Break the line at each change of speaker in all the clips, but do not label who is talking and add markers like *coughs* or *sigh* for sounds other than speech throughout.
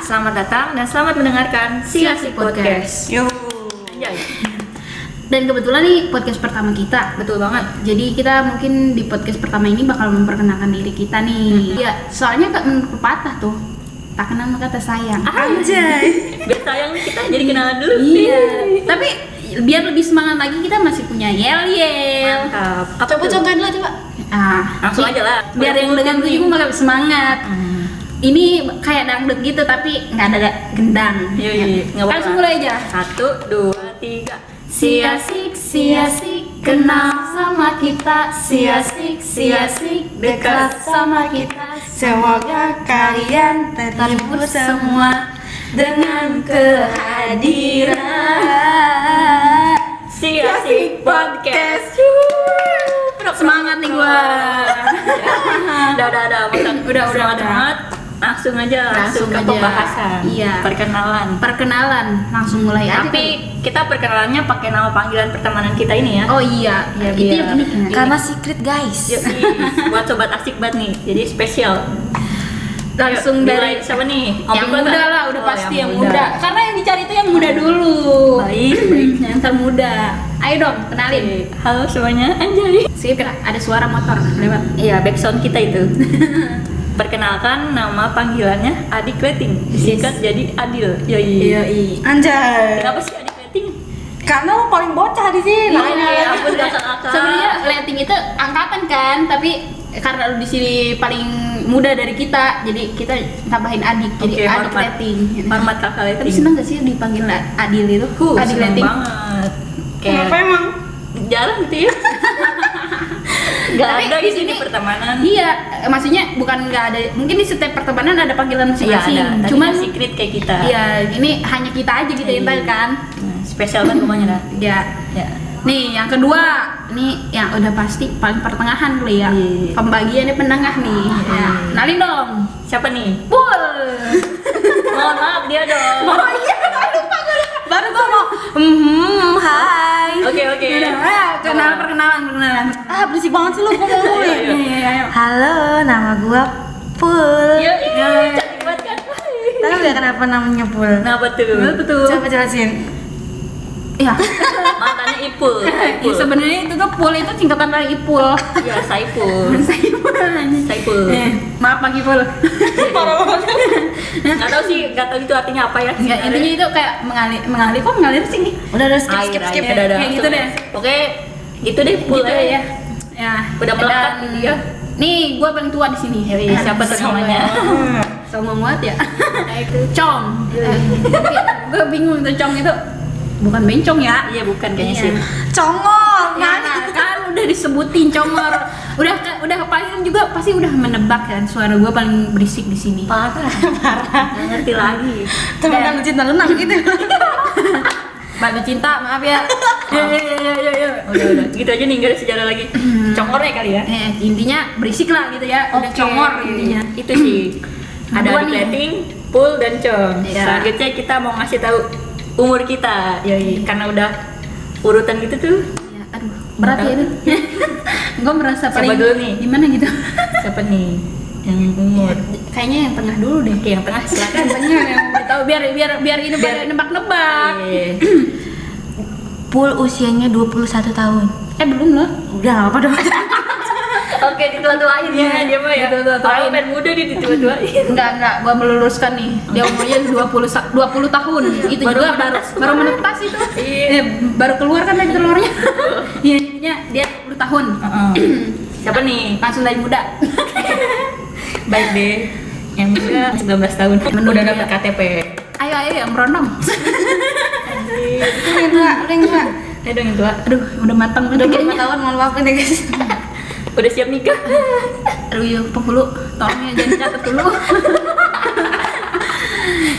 Selamat datang dan selamat mendengarkan Silasi Podcast.
Yo.
Iya, Anjay,
Dan kebetulan nih podcast pertama kita.
betul banget.
Jadi kita mungkin di podcast pertama ini bakal memperkenalkan diri kita
Hmm.
nih. Iya, soalnya kan menurut pepatah tuh, tak kenal maka tak sayang.
Ah,
Anjay.
Biar sayang nih kita jadi kenalan dulu.
Iya. Tapi biar lebih semangat lagi kita masih punya yel yel.
Mantap. Apa
Coba
tuh?
contohin dulu coba.
Ah,
Langsung aja lah.
biar yang dengan gue juga makin semangat.
Hmm.
Ini kayak dangdut gitu tapi nggak ada gendang.
Iya, iya, iya. Nggak apa-apa.
Langsung mulai aja.
Satu, dua, tiga.
Siasik, siasik, kenal sama kita. Siasik, siasik, dekat sama kita.
Semoga kalian
Terhibur semua dengan kehadiran.
Siasik Podcast.
Semangat nih gua.
udah, udah, udah. Udah, udah, udah. banget. Langsung aja
Langsung
langsung, ke
aja.
pembahasan.
Iya.
Perkenalan.
Perkenalan, langsung mulai aja.
Tapi kita perkenalannya pakai nama panggilan pertemanan kita ini ya.
Oh iya,
Iya,
itu
biar-
yang penting.
Karena secret guys.
Yuk, buat sobat asik banget nih. Jadi spesial.
langsung
Yuk,
dari
dimulai. siapa nih? Om
yang
Iqbal,
muda
kan?
lah, udah
Oh,
pasti yang, muda. Oh. Karena yang dicari itu yang muda dulu.
Baik, baik.
yang termuda. Ayo dong, kenalin.
Oke, Halo semuanya, anjay.
Skip lah, ada suara motor lewat.
Iya, backsound kita
*laughs*
itu. Perkenalkan nama panggilannya Adik Rating. Disingkat jadi Adil. Yoi.
iya.
Anjay.
Kenapa sih Adik Rating?
Karena lo paling bocah di sini.
Iya, ya ampun kakak-kakak.
Sebenarnya letting itu angkatan kan, tapi karena lu di sini paling muda dari kita, jadi kita tambahin adik, jadi
Oke,
adik
hormat.
letting.
hormat kakak Rating.
Tapi seneng gak sih dipanggil adil itu?
Huh,
adik
seneng
letting.
banget.
Kenapa
Kayak
emang?
jarang *laughs* sih. Gak
Tapi
ada
di
gitu di
sini-
pertemanan.
Iya, eh, maksudnya bukan nggak ada. Mungkin di setiap pertemanan ada panggilan
Iya
masing-masing.
ada, tapi
Cuman
nggak secret kayak kita.
Iya, ini hanya kita aja gitu yang tahu kan.
Nah, spesial banget rumahnya dah.
Ya.
Ya.
Nih, yang kedua, nih yang udah pasti paling pertengahan dulu ya.
Iya.
Pembagiannya penengah nih. Ya. Nalin dong.
Siapa nih?
Pul.
Mohon maaf dia dong. Oke
Oh, Baru iya, gua mau. Hmm, hai.
oke.
Iya, Eh,
Nah, kenalan perkenalan perkenalan.
Ah, berisik banget sih lo gua mau
*laughs*
Ayo,
Iya,
ngomong.
ayo.
Nih, ayo.
Halo, nama gua Pul.
Iya, iya, cantik banget kan.
Tahu nggak kenapa namanya Pul?
Kenapa tuh?
Iya,
Betul.
Coba jelasin.
*laughs* Iya.
Matanya Ipul.
Ya, sebenarnya itu tuh pul itu singkatan dari ipul.
Iya, Saipul. Saipul.
Eh, Maaf Pak Ipul.
Parah banget.
Enggak tahu sih, enggak tahu itu artinya apa ya.
Ya, intinya itu kayak mengalir mengalir kok mengalir sih.
Udah udah skip
skip
skip skip.
air.
Kayak gitu deh. Oke, gitu deh Pul.
gitu ya. Ya,
Udah melekat
dan-
nih dia.
Nih, gua paling tua di sini.
Hei, Iya, siapa tuh namanya?
Sombong *laughs* banget ya. Cong. gue bingung tuh Cong itu bukan bencong ya.
Iya, bukan kayaknya
Iya.
sih.
Congol.
Iya,
Ya, kan, kan udah disebutin congor. Udah udah paling juga pasti udah menebak kan suara gue paling berisik di sini.
Parah. Parah. Nggak ngerti lagi.
Temen yang cinta lenang
*laughs*
gitu.
Batu cinta, maaf ya. Ya, ya, ya, ya, ya.
Udah, udah. Gitu aja nih, nggak ada sejarah lagi. Congornya kali ya.
Eh, intinya berisik lah gitu ya. Udah ya. congor intinya.
Itu sih. Ada
Dua
di
nih.
plating, pull dan cong.
Iya.
Selanjutnya kita mau ngasih tahu umur kita. Karena udah urutan gitu tuh.
Ya, aduh, berat ya *laughs* itu. gue merasa
Siapa
paling
dulu nih?
Gimana gitu?
Siapa nih yang umur?
Kayaknya yang tengah dulu deh.
Oke, yang tengah silakan.
Tengah *laughs* yang tahu biar biar biar ini biar nebak-nebak.
Iya.
Pul usianya 21 tahun.
Eh belum loh.
Udah nggak apa-apa dong.
Oke, ditua-tuain ya dia mah ya.
Ditua-tuain.
Orang pengen muda dia ditua-tuain.
Enggak, enggak, gua meluruskan nih. Dia umurnya *laughs* 20 sa- 20 tahun. itu
Baru
juga Iya. baru
menetas.
baru menetas itu.
Iya.
Eh, baru keluar kan dari *laughs* telurnya. Iya, intinya dia 20 tahun.
Siapa nih?
Langsung dari muda.
Baik deh. Yang muda 19 tahun.
Menurut
Udah
dia.
dapat KTP.
Ayo ayo yang merondong.
Lu yang tua, lu yang tua.
Ayo dong yang tua.
Aduh, udah matang
Udah
udah
berapa
kayaknya.
tahun mau luapin deh guys.
Udah siap nikah?
Aduh, yuk, penghulu, tolong ya jangan catat dulu. *laughs*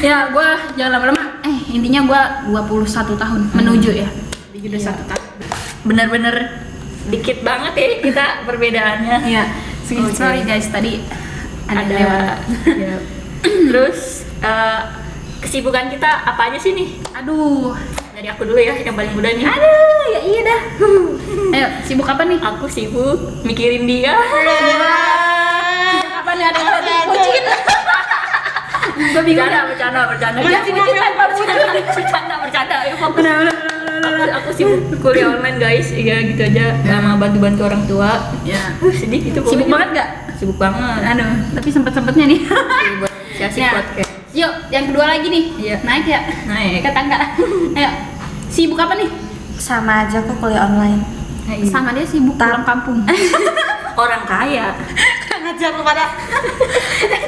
ya, gua jangan lama-lama. Eh, intinya gua 21 tahun menuju ya. Menuju udah satu tahun.
bener-bener dikit banget ya kita perbedaannya
Iya. Sorry,
Oke.
Sorry guys tadi ada,
ada
lewat.
Iya. *clears throat* terus eh, kesibukan kita apa aja sih nih
Aduh.
dari aku dulu ya yang paling muda nih
Aduh, ya iya dah. *laughs* Ayo, sibuk apa nih?
aku sibuk mikirin dia
Apa nih ada kucing?
Gue bingung. Bercanda, bercanda, bercanda. Dia
Mana sih
puji
kamera
tanpa puji. Bercanda, bercanda. Ayo fokus. Aku, aku sibuk kuliah online guys. Ya gitu aja. Sama bantu-bantu orang tua.
Ya.
Uh, sedih itu.
Sibuk banget gak?
Sibuk banget.
Aduh, tapi sempet-sempetnya nih. *laughs*
Sibuk. Siasih
Ya.
podcast.
Yuk, yang kedua lagi nih.
Iya.
Naik ya?
Naik.
Ke *laughs* tangga. Ayo. Sibuk apa nih?
Sama aja kok kuliah online.
Nah, iya.
Sama dia sibuk
Tam-
pulang
*laughs*
kampung.
Orang
*laughs*
kaya.
ngajar lu pada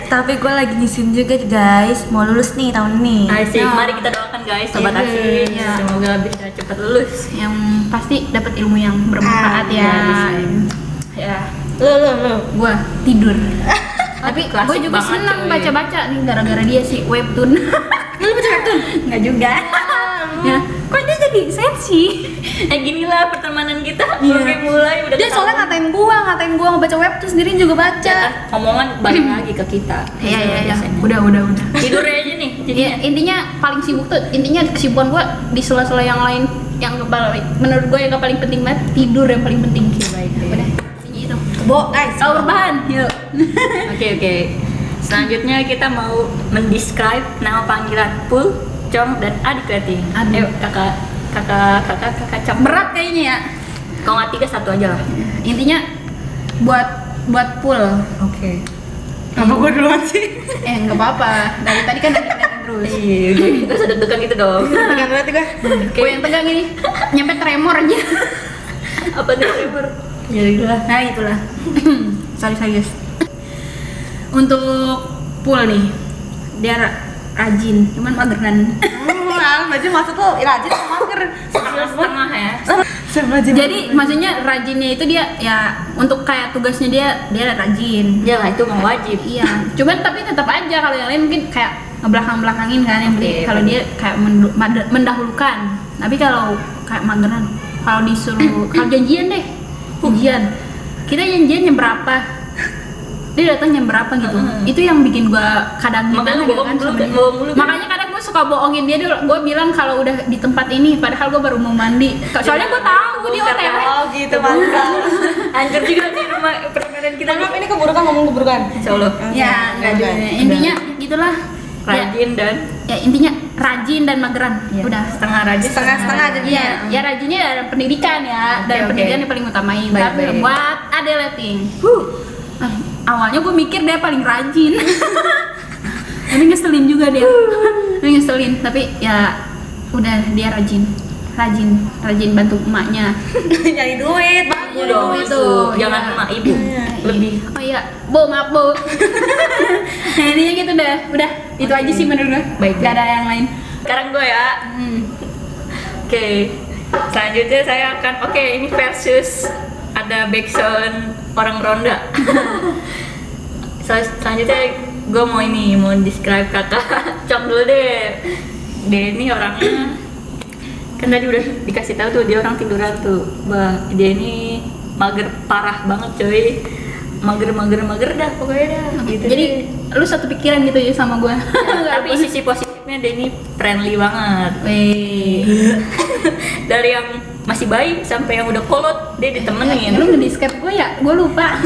Tapi gue lagi nyusun juga guys, mau lulus nih tahun ini.
Asik.
Nah.
Mari kita doakan guys. Sobat
Iya.
asik.
Iya.
Semoga bisa cepat lulus.
yang pasti dapat ilmu yang bermanfaat
Ah,
ya.
iya,
Ya,
lu lu lu
gua
*laughs*
tidur. Tapi
Klasik
gue juga
banget,
senang
cuy.
baca-baca nih gara-gara dia si
*laughs*
webtoon.
lu baca kartun
Enggak juga. ya, kok dia jadi sensi?
Eh ginilah pertemanan kita.
Iya.
Mulai mulai udah.
dia soalnya
ketahuan. Iya,
ngatain gua ngatain gua ngebaca webtoon sendiri juga baca
Kan omongan balik lagi ke kita.
Hmm.
Gitu,
Iya, iya, iya.
Biasanya.
Udah, udah, udah.
Tidur aja nih. Jadi
Iya, intinya paling sibuk tuh intinya kesibukan gua di sela-sela yang lain yang kepala menurut gue yang paling penting banget tidur yang paling penting sih baik
Iya.
udah intinya itu
bo guys
kalau
Oh.
berbahan yuk
Oke oke. Selanjutnya kita mau mendescribe nama panggilan Pul, Cong dan Adik Rating.
Aduh.
Ayo kakak kakak kakak kakak Cong.
berat kayaknya ya
Kalau nggak tiga satu aja lah.
intinya buat buat pool
Oke.
Apa gue duluan sih?
Iya. *laughs* eh nggak apa-apa dari tadi kan dari tadi terus
Iya. oke. *laughs* Nggak usah deg-degan gitu dong.
pegang berarti gua
Oke.
gue yang tegang ini nyampe tremor aja
Apa nih River? Ya udah.
nah itulah
Sorry sorry guys.
untuk pool nih dia ra- rajin cuman mageran
Hmm, baca maksud lu rajin sama mager
Setengah setengah ya.
sebelum
jadi maksudnya rajinnya itu dia ya untuk kayak tugasnya dia dia rajin
Ya lah itu mau wajib.
Iya, cuman tapi tetap aja kalau yang lain mungkin kayak ngebelakang-belakangin kan yang
Oke,
penting kalau dia kayak mendu- mad- mendahulukan. Tapi kalau kayak mageran, kalau
*coughs*
disuruh kalau janjian deh. Janjian. Kita janjian jam berapa? Dia datang jam berapa gitu.
Mm-mm.
Itu yang bikin gua kadang gimana
Makanya
gitu
bohong
kan
mulu,
sama dia.
bohong mulu.
Makanya kadang gua suka bohongin dia dulu. Gua bilang kalau udah di tempat ini padahal gua baru mau mandi. Soalnya
Iya.
gua tahu dia
Bongkar
OTW.
oh gitu
*laughs*
mantap
Hancur juga nih rumah pertemanan kita nih.
Maaf, ini keburukan ngomong keburukan
Insya Allah.
Ya,
iya.
enggak juga.
Enggak.
Intinya gitulah. Ya,
Rajin dan
ya intinya rajin dan mageran
Iya.
udah
setengah rajin.
setengah-setengah aja
Iya,
dia
ya rajinnya dalam pendidikan ya,
Oke,
dan
oke.
pendidikan yang paling utamain.
Baik,
Tapi
baik.
buat ade letting,
Huh.
Ah, awalnya gue mikir dia paling
*laughs*
rajin, tapi ngeselin juga dia, tapi ngeselin. Tapi ya udah dia rajin, rajin, rajin bantu emaknya.
nyari duit bagus
Ibu dong
Ibu
itu.
tuh,
Jangan
iya.
emak ibu. Lebih
Oh iya, bo maaf
*laughs*
bo. nah, intinya gitu deh, udah itu aja sih menurut gue.
Baik,
Gak
baik.
ada yang lain.
Sekarang gue ya.
Hmm.
Oke. Selanjutnya saya akan oke ini versus ada backsound orang ronda. Sel- selanjutnya gue mau ini mau describe kakak *laughs* Cong dulu deh. Dia ini orangnya kan tadi udah dikasih tahu tuh dia orang tiduran tuh. Bah, dia ini mager parah banget coy. Mager mager mager dah pokoknya dah. Gitu
Jadi
deh.
lu satu pikiran gitu ya sama gue. *laughs*
tapi sisi positifnya dia ini friendly banget
Wih,
dari yang masih bayi sampai yang udah kolot dia ditemenin
lu ngediscap gue ya, gue lupa.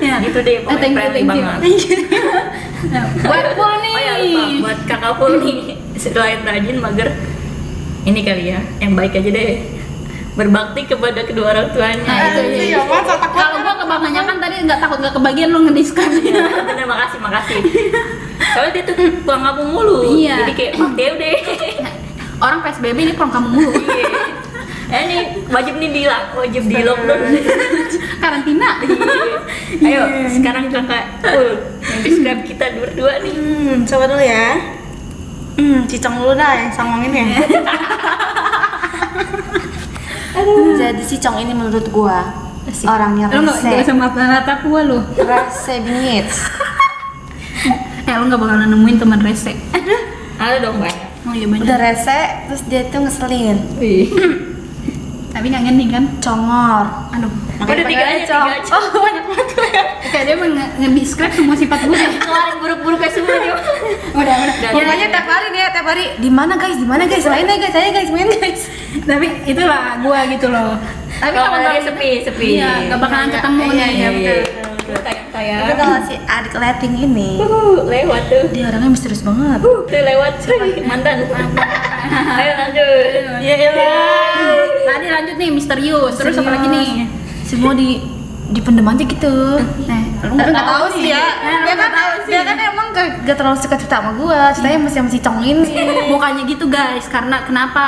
ya.
gitu
*laughs* Ah,
deh pokoknya
thank you,
friendly
thank you.
banget
*laughs* Nah, buat pul nih.
oh ya lupa buat kakak pun nih *laughs* selain rajin mager ini kali ya yang baik aja deh berbakti kepada kedua orang tuanya
Nah, itu
Anjir,
iya.
ya Mas, otak gua
Kalau gua kebanyakan tadi nggak takut nggak kebagian lu ngediscap.
Iya, bener makasih makasih soalnya dia tuh pulang kampung mulu
Iya.
jadi kayak oh, dia udah
*laughs*
*laughs*
Orang PSBB ini pulang kamu mulu.
eh nih wajib nih di wajib di lockdown
*laughs* Iya. Karantina.
Ayo, sekarang kakak full describe kita berdua nih.
Hmm, coba dulu ya. Hmm, cicong dulu dah yang sangongin ya.
Jadi si Cong ini menurut gua orangnya
Lu nggak nggak
rese,
usah mata gua lu.
rese bingit.
Eh lu nggak bakalan nemuin teman Eh, rese.
Ada dong banyak.
Oh iya banyak.
Udah rese, terus dia tuh ngeselin,
Wih.
Tapi kangen nih kan.
congor.
Aduh.
Udah tiga aja, tiga aja.
Kayak dia mau nge- ngedescribe semua sifat gue.
Keluarin buruk-buruknya semua nih.
Udah udah.
Dan-
Pokoknya tiap hari nih ya, tiap hari.
Di mana guys? Di mana guys? Main deh guys, ayo guys, main guys.
Tapi itulah gua gitu loh. Tapi
Kalau
kalau
nggak
nggak
sepi, sepi.
Iya, nggak bakalan ketemu
Iya,
nih.
iya,
Iya,
betul.
Tapi
tayang-tayang.
kalau Oh, si adik leting ini,
Uh, lewat tuh.
iya.
dia orangnya misterius banget.
Uh, tuh lewat cuy. Mantan. *laughs* Ayo lanjut. Ya elah.
Tadi lanjut nih misterius. Terus apa lagi nih?
Semua di dipendem aja gitu.
Nah, lu
Tapi nggak tahu sih ya.
Nah,
Dia kan, dia kan emang gak, gak terlalu suka cerita sama gua. Ceritanya masih sama si Cong ini.
*laughs* bukannya gitu guys karena kenapa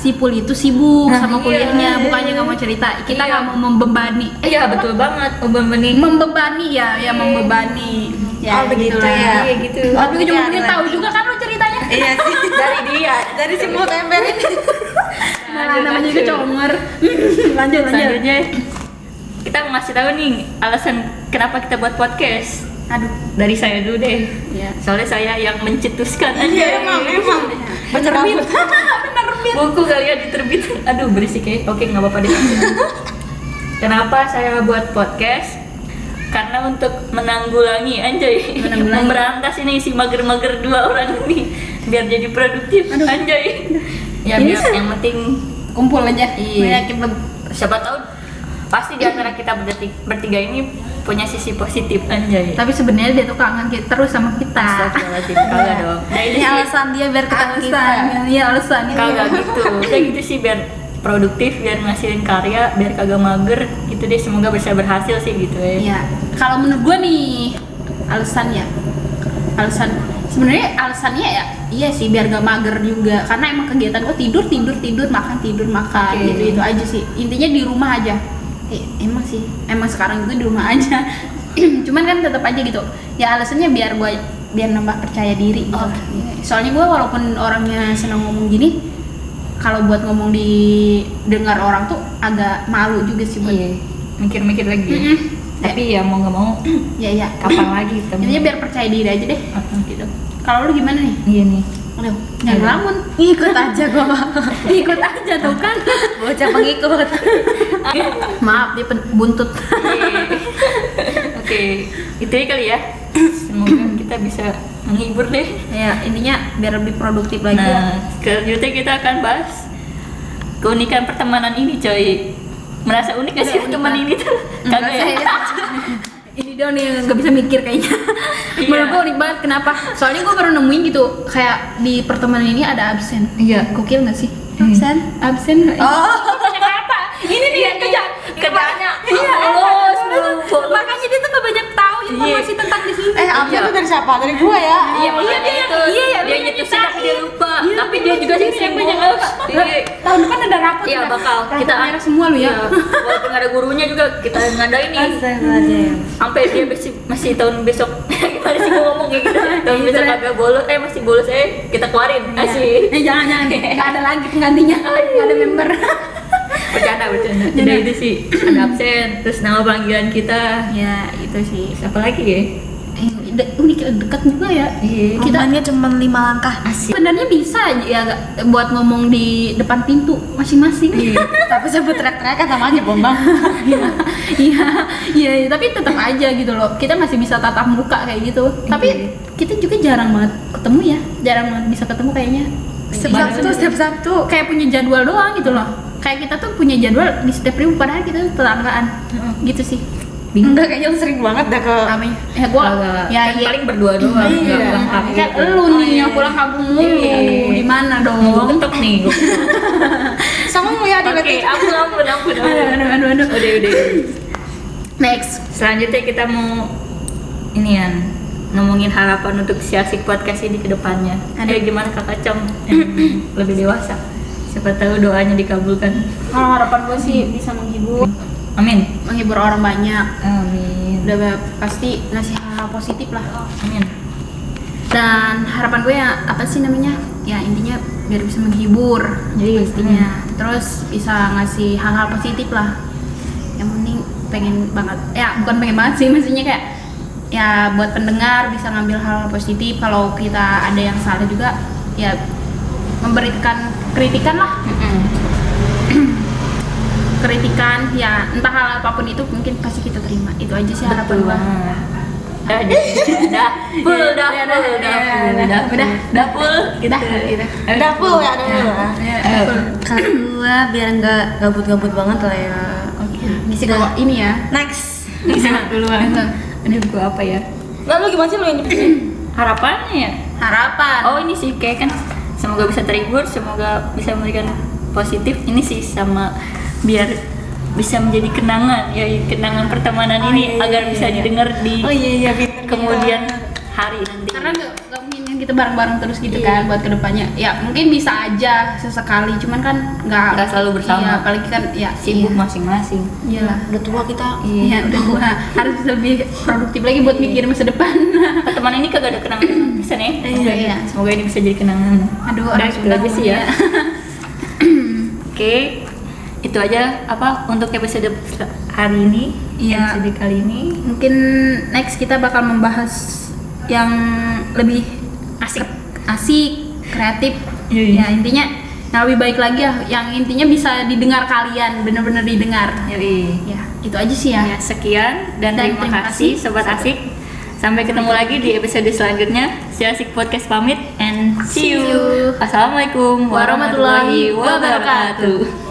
si Pul itu sibuk sama kuliahnya bukannya nggak mau cerita kita nggak mau membebani eh,
Iya betul banget. Obam bening.
membebani ya ya membebani ya
Oh, begitu
gitulah.
ya.
Iya gitu.
tapi
Iya,
ujung ujungnya
iya.
tahu juga kan lo ceritanya
Iya
*laughs*
sih.
Dari dia.
Dari si mulut ember ini.
nah, namanya juga comer lanjut lanjut
Selanjutnya kita mau ngasih tahu nih alasan kenapa kita buat podcast.
aduh
Dari saya dulu deh.
Iya.
Soalnya saya yang mencetuskan aja.
emang. Bercermin.
*laughs*
buku kalian diterbit aduh berisik ya oke
*laughs*
nggak apa-apa deh kenapa saya buat podcast karena untuk menanggulangi anjay
Menanggulangi.
memberantas ini si mager-mager dua orang ini biar jadi produktif anjay ya
Ini
biar
se-
yang penting
kumpul aja
iya siapa tahu pasti di antara kita berdetik- bertiga ini punya sisi positif anjay
tapi sebenarnya dia tuh kangen kita terus sama kita
*laughs* Astagfirullahaladzim, kagak dong Nah, ini
Ini
sih-
alasan dia biar ketemu kita.
alasan ya alasan
kagak gitu udah gitu sih biar produktif biar ngasilin karya biar kagak mager gitu deh semoga bisa berhasil sih gitu ya
Iya. Kalau menurut gue nih alasannya, alasan sebenarnya alasannya ya iya sih biar gak mager juga karena emang kegiatan gue tidur tidur tidur makan tidur makan
Oke.
gitu gitu aja sih intinya di rumah aja Eh, emang sih emang sekarang juga di rumah aja *clears throat* cuman kan tetap aja gitu ya alasannya biar gue biar nambah percaya diri gitu.
Oke.
soalnya gue walaupun orangnya senang ngomong gini kalau buat ngomong di dengar orang tuh agak malu juga sih buat
Iya. mikir-mikir lagi
Mm-mm.
tapi ya mau nggak mau
ya ya
kapan lagi ketemu
Intinya biar percaya diri aja deh.
Apa gitu
Kalau lu gimana nih?
iya nih *laughs*
Aduh, jangan
Iya.
ngelamun.
Ikut aja gua mah.
*laughs* Ikut aja tuh kan.
Bocah pengikut.
Maaf, dia pen- *laughs* buntut.
oke itu aja kali *clears throat* ya semoga kita bisa menghibur deh
ya, intinya biar lebih produktif lagi.
nah selanjutnya kita akan bahas keunikan pertemanan ini coy merasa unik gak sih
Udah,
teman
unik.
ini tuh
Enggak,
kagak ya?
saya-
*laughs*
Ini doang nih yang nggak bisa mikir *laughs* kayaknya.
Iya.
Menurut gue unik banget kenapa? Soalnya gue baru nemuin gitu kayak di pertemanan ini ada absen.
Iya.
Gokil nggak sih? Oh.
Absen?
Absen.
kenapa ini nih yang kerja kerjanya
Iya,
polos polos.
Makanya dia tuh nggak banyak tahu informasi tentang di sini. Iya.
Eh, apa
Iya.
itu dari siapa? Dari gua ya.
Iya, makanya
dia-
itu.
iya, iya,
dia
dia
nyetusin tapi dia lupa.
Iya,
tapi dia juga sih yang banyak lupa. Iya.
Tahun depan ada rapot.
Iya
udah.
bakal
Rapot
kita
merah semua lu ya.
Iya, Walaupun nggak ada gurunya juga kita ngadain
Iya.
nih.
Astagfirullahaladzim.
Sampai dia masih, masih tahun besok *laughs* gimana sih gua ngomong kayak gitu. Tahun
Iya,
besok
bener.
agak bolos eh masih bolos eh kita keluarin. Asik.
Eh jangan jangan,
*laughs*
nggak ada lagi penggantinya, nggak ada member.
Bercanda bercanda. Jadi itu sih ada absen terus nama panggilan kita.
ya itu sih.
Siapa lagi ya?
Eh, de- unik dekat juga ya.
Iya.
Kita-
Kita cuma lima langkah.
Asik.
Sebenarnya bisa ya nggak- buat ngomong di depan pintu masing-masing.
Iya.
Tapi sebut teriak-teriak kata aja bombang.
*laughs* Iya, iya, iya, tapi tetap aja gitu loh. Kita masih bisa tatap muka kayak gitu. Tapi kita juga jarang banget ketemu ya, jarang banget bisa ketemu kayaknya.
Setiap Sabtu, setiap Sabtu.
Kayak punya jadwal doang gitu loh. Kayak kita tuh punya jadwal di setiap minggu padahal kita tuh tetanggaan. Gitu sih.
Enggak kayaknya lu sering banget dah ke
Ramenya. Ya gua ya
ya, kan
iya.
paling berdua doang
Iya.
nggak pulang kampung
Kan lu nih yang pulang kampung mulu.
Iya.
Aduh, Gimana dong?
mau ngetok
*laughs*
nih gua.
sama mu ya di
oke ampun ampun ampun
Aduh,
ampun.
aduh, aduh, aduh.
udah udah
Next.
selanjutnya kita mau ini ya ngomongin harapan untuk si asik podcast ini ke depannya ada gimana kakak Cong yang lebih dewasa siapa tahu doanya dikabulkan
Kalau harapan gue sih bisa menghibur,
amin
menghibur orang banyak.
amin
Udah pasti ngasih hal-hal positif lah.
amin
dan harapan gue ya apa sih namanya ya intinya biar bisa menghibur
Iya,
pastinya terus bisa ngasih hal-hal positif lah yang penting pengen banget ya bukan pengen banget sih maksudnya kayak ya buat pendengar bisa ngambil hal positif kalau kita ada yang salah juga ya memberikan kritikan lah kritikan ya entah hal apapun itu mungkin pasti kita terima itu aja sih harapan gue
Udah, udah, full, udah, udah, udah, full, udah, udah, udah, full,
kita kita
dapur ya ada lu.
Iya. Kalau gua biar nggak gabut-gabut banget lah ya.
Oke, misi bawa ini ya.
Next.
Bisa duluan. Ini buku apa ya?
Nggak, lu gimana sih lu yang dipikirin?
Harapannya ya?
Harapan.
Oh ini sih kayak kan semoga bisa terhibur, semoga bisa memberikan positif. Ini sih sama biar bisa menjadi kenangan, ya kenangan pertemanan ini agar bisa didengar di
oh iya iya pinter
kemudian hari nanti.
Karena nggak nggak mungkin kan kita bareng-bareng terus gitu kan
Iya.
buat kedepannya. Ya mungkin bisa aja sesekali, cuman kan nggak
Nggak selalu bersama.
Iya, apalagi kan ya
sibuk masing-masing.
Iya lah.
Udah tua kita
Iya, udah tua. harus lebih produktif lagi buat
Iya.
mikir masa
*laughs*
depan.
Pertemanan ini kagak ada kenangan bisa nih.
Iya, iya.
Semoga ini bisa jadi kenangan.
Aduh,
Udah,
orang
itu
Sunda
aja sih ya.
ngomongnya.
*clears throat* Oke, itu aja apa untuk episode hari ini,
Iya.
episode kali ini.
Mungkin next kita bakal membahas yang lebih asik, asik, kreatif.
Iya, iya.
Ya intinya yang lebih baik lagi ya, yang intinya bisa didengar kalian, bener-bener didengar.
Yoi.
Ya, itu aja sih
Ya,
ya.
sekian dan,
Dan
terima,
terima
kasih
kasih,
sobat asik. Sampai ketemu lagi di episode selanjutnya. Si Asik Podcast pamit and see you.
See you.
Assalamualaikum
Warahmatullahi
warahmatullahi
wabarakatuh.
wabarakatuh.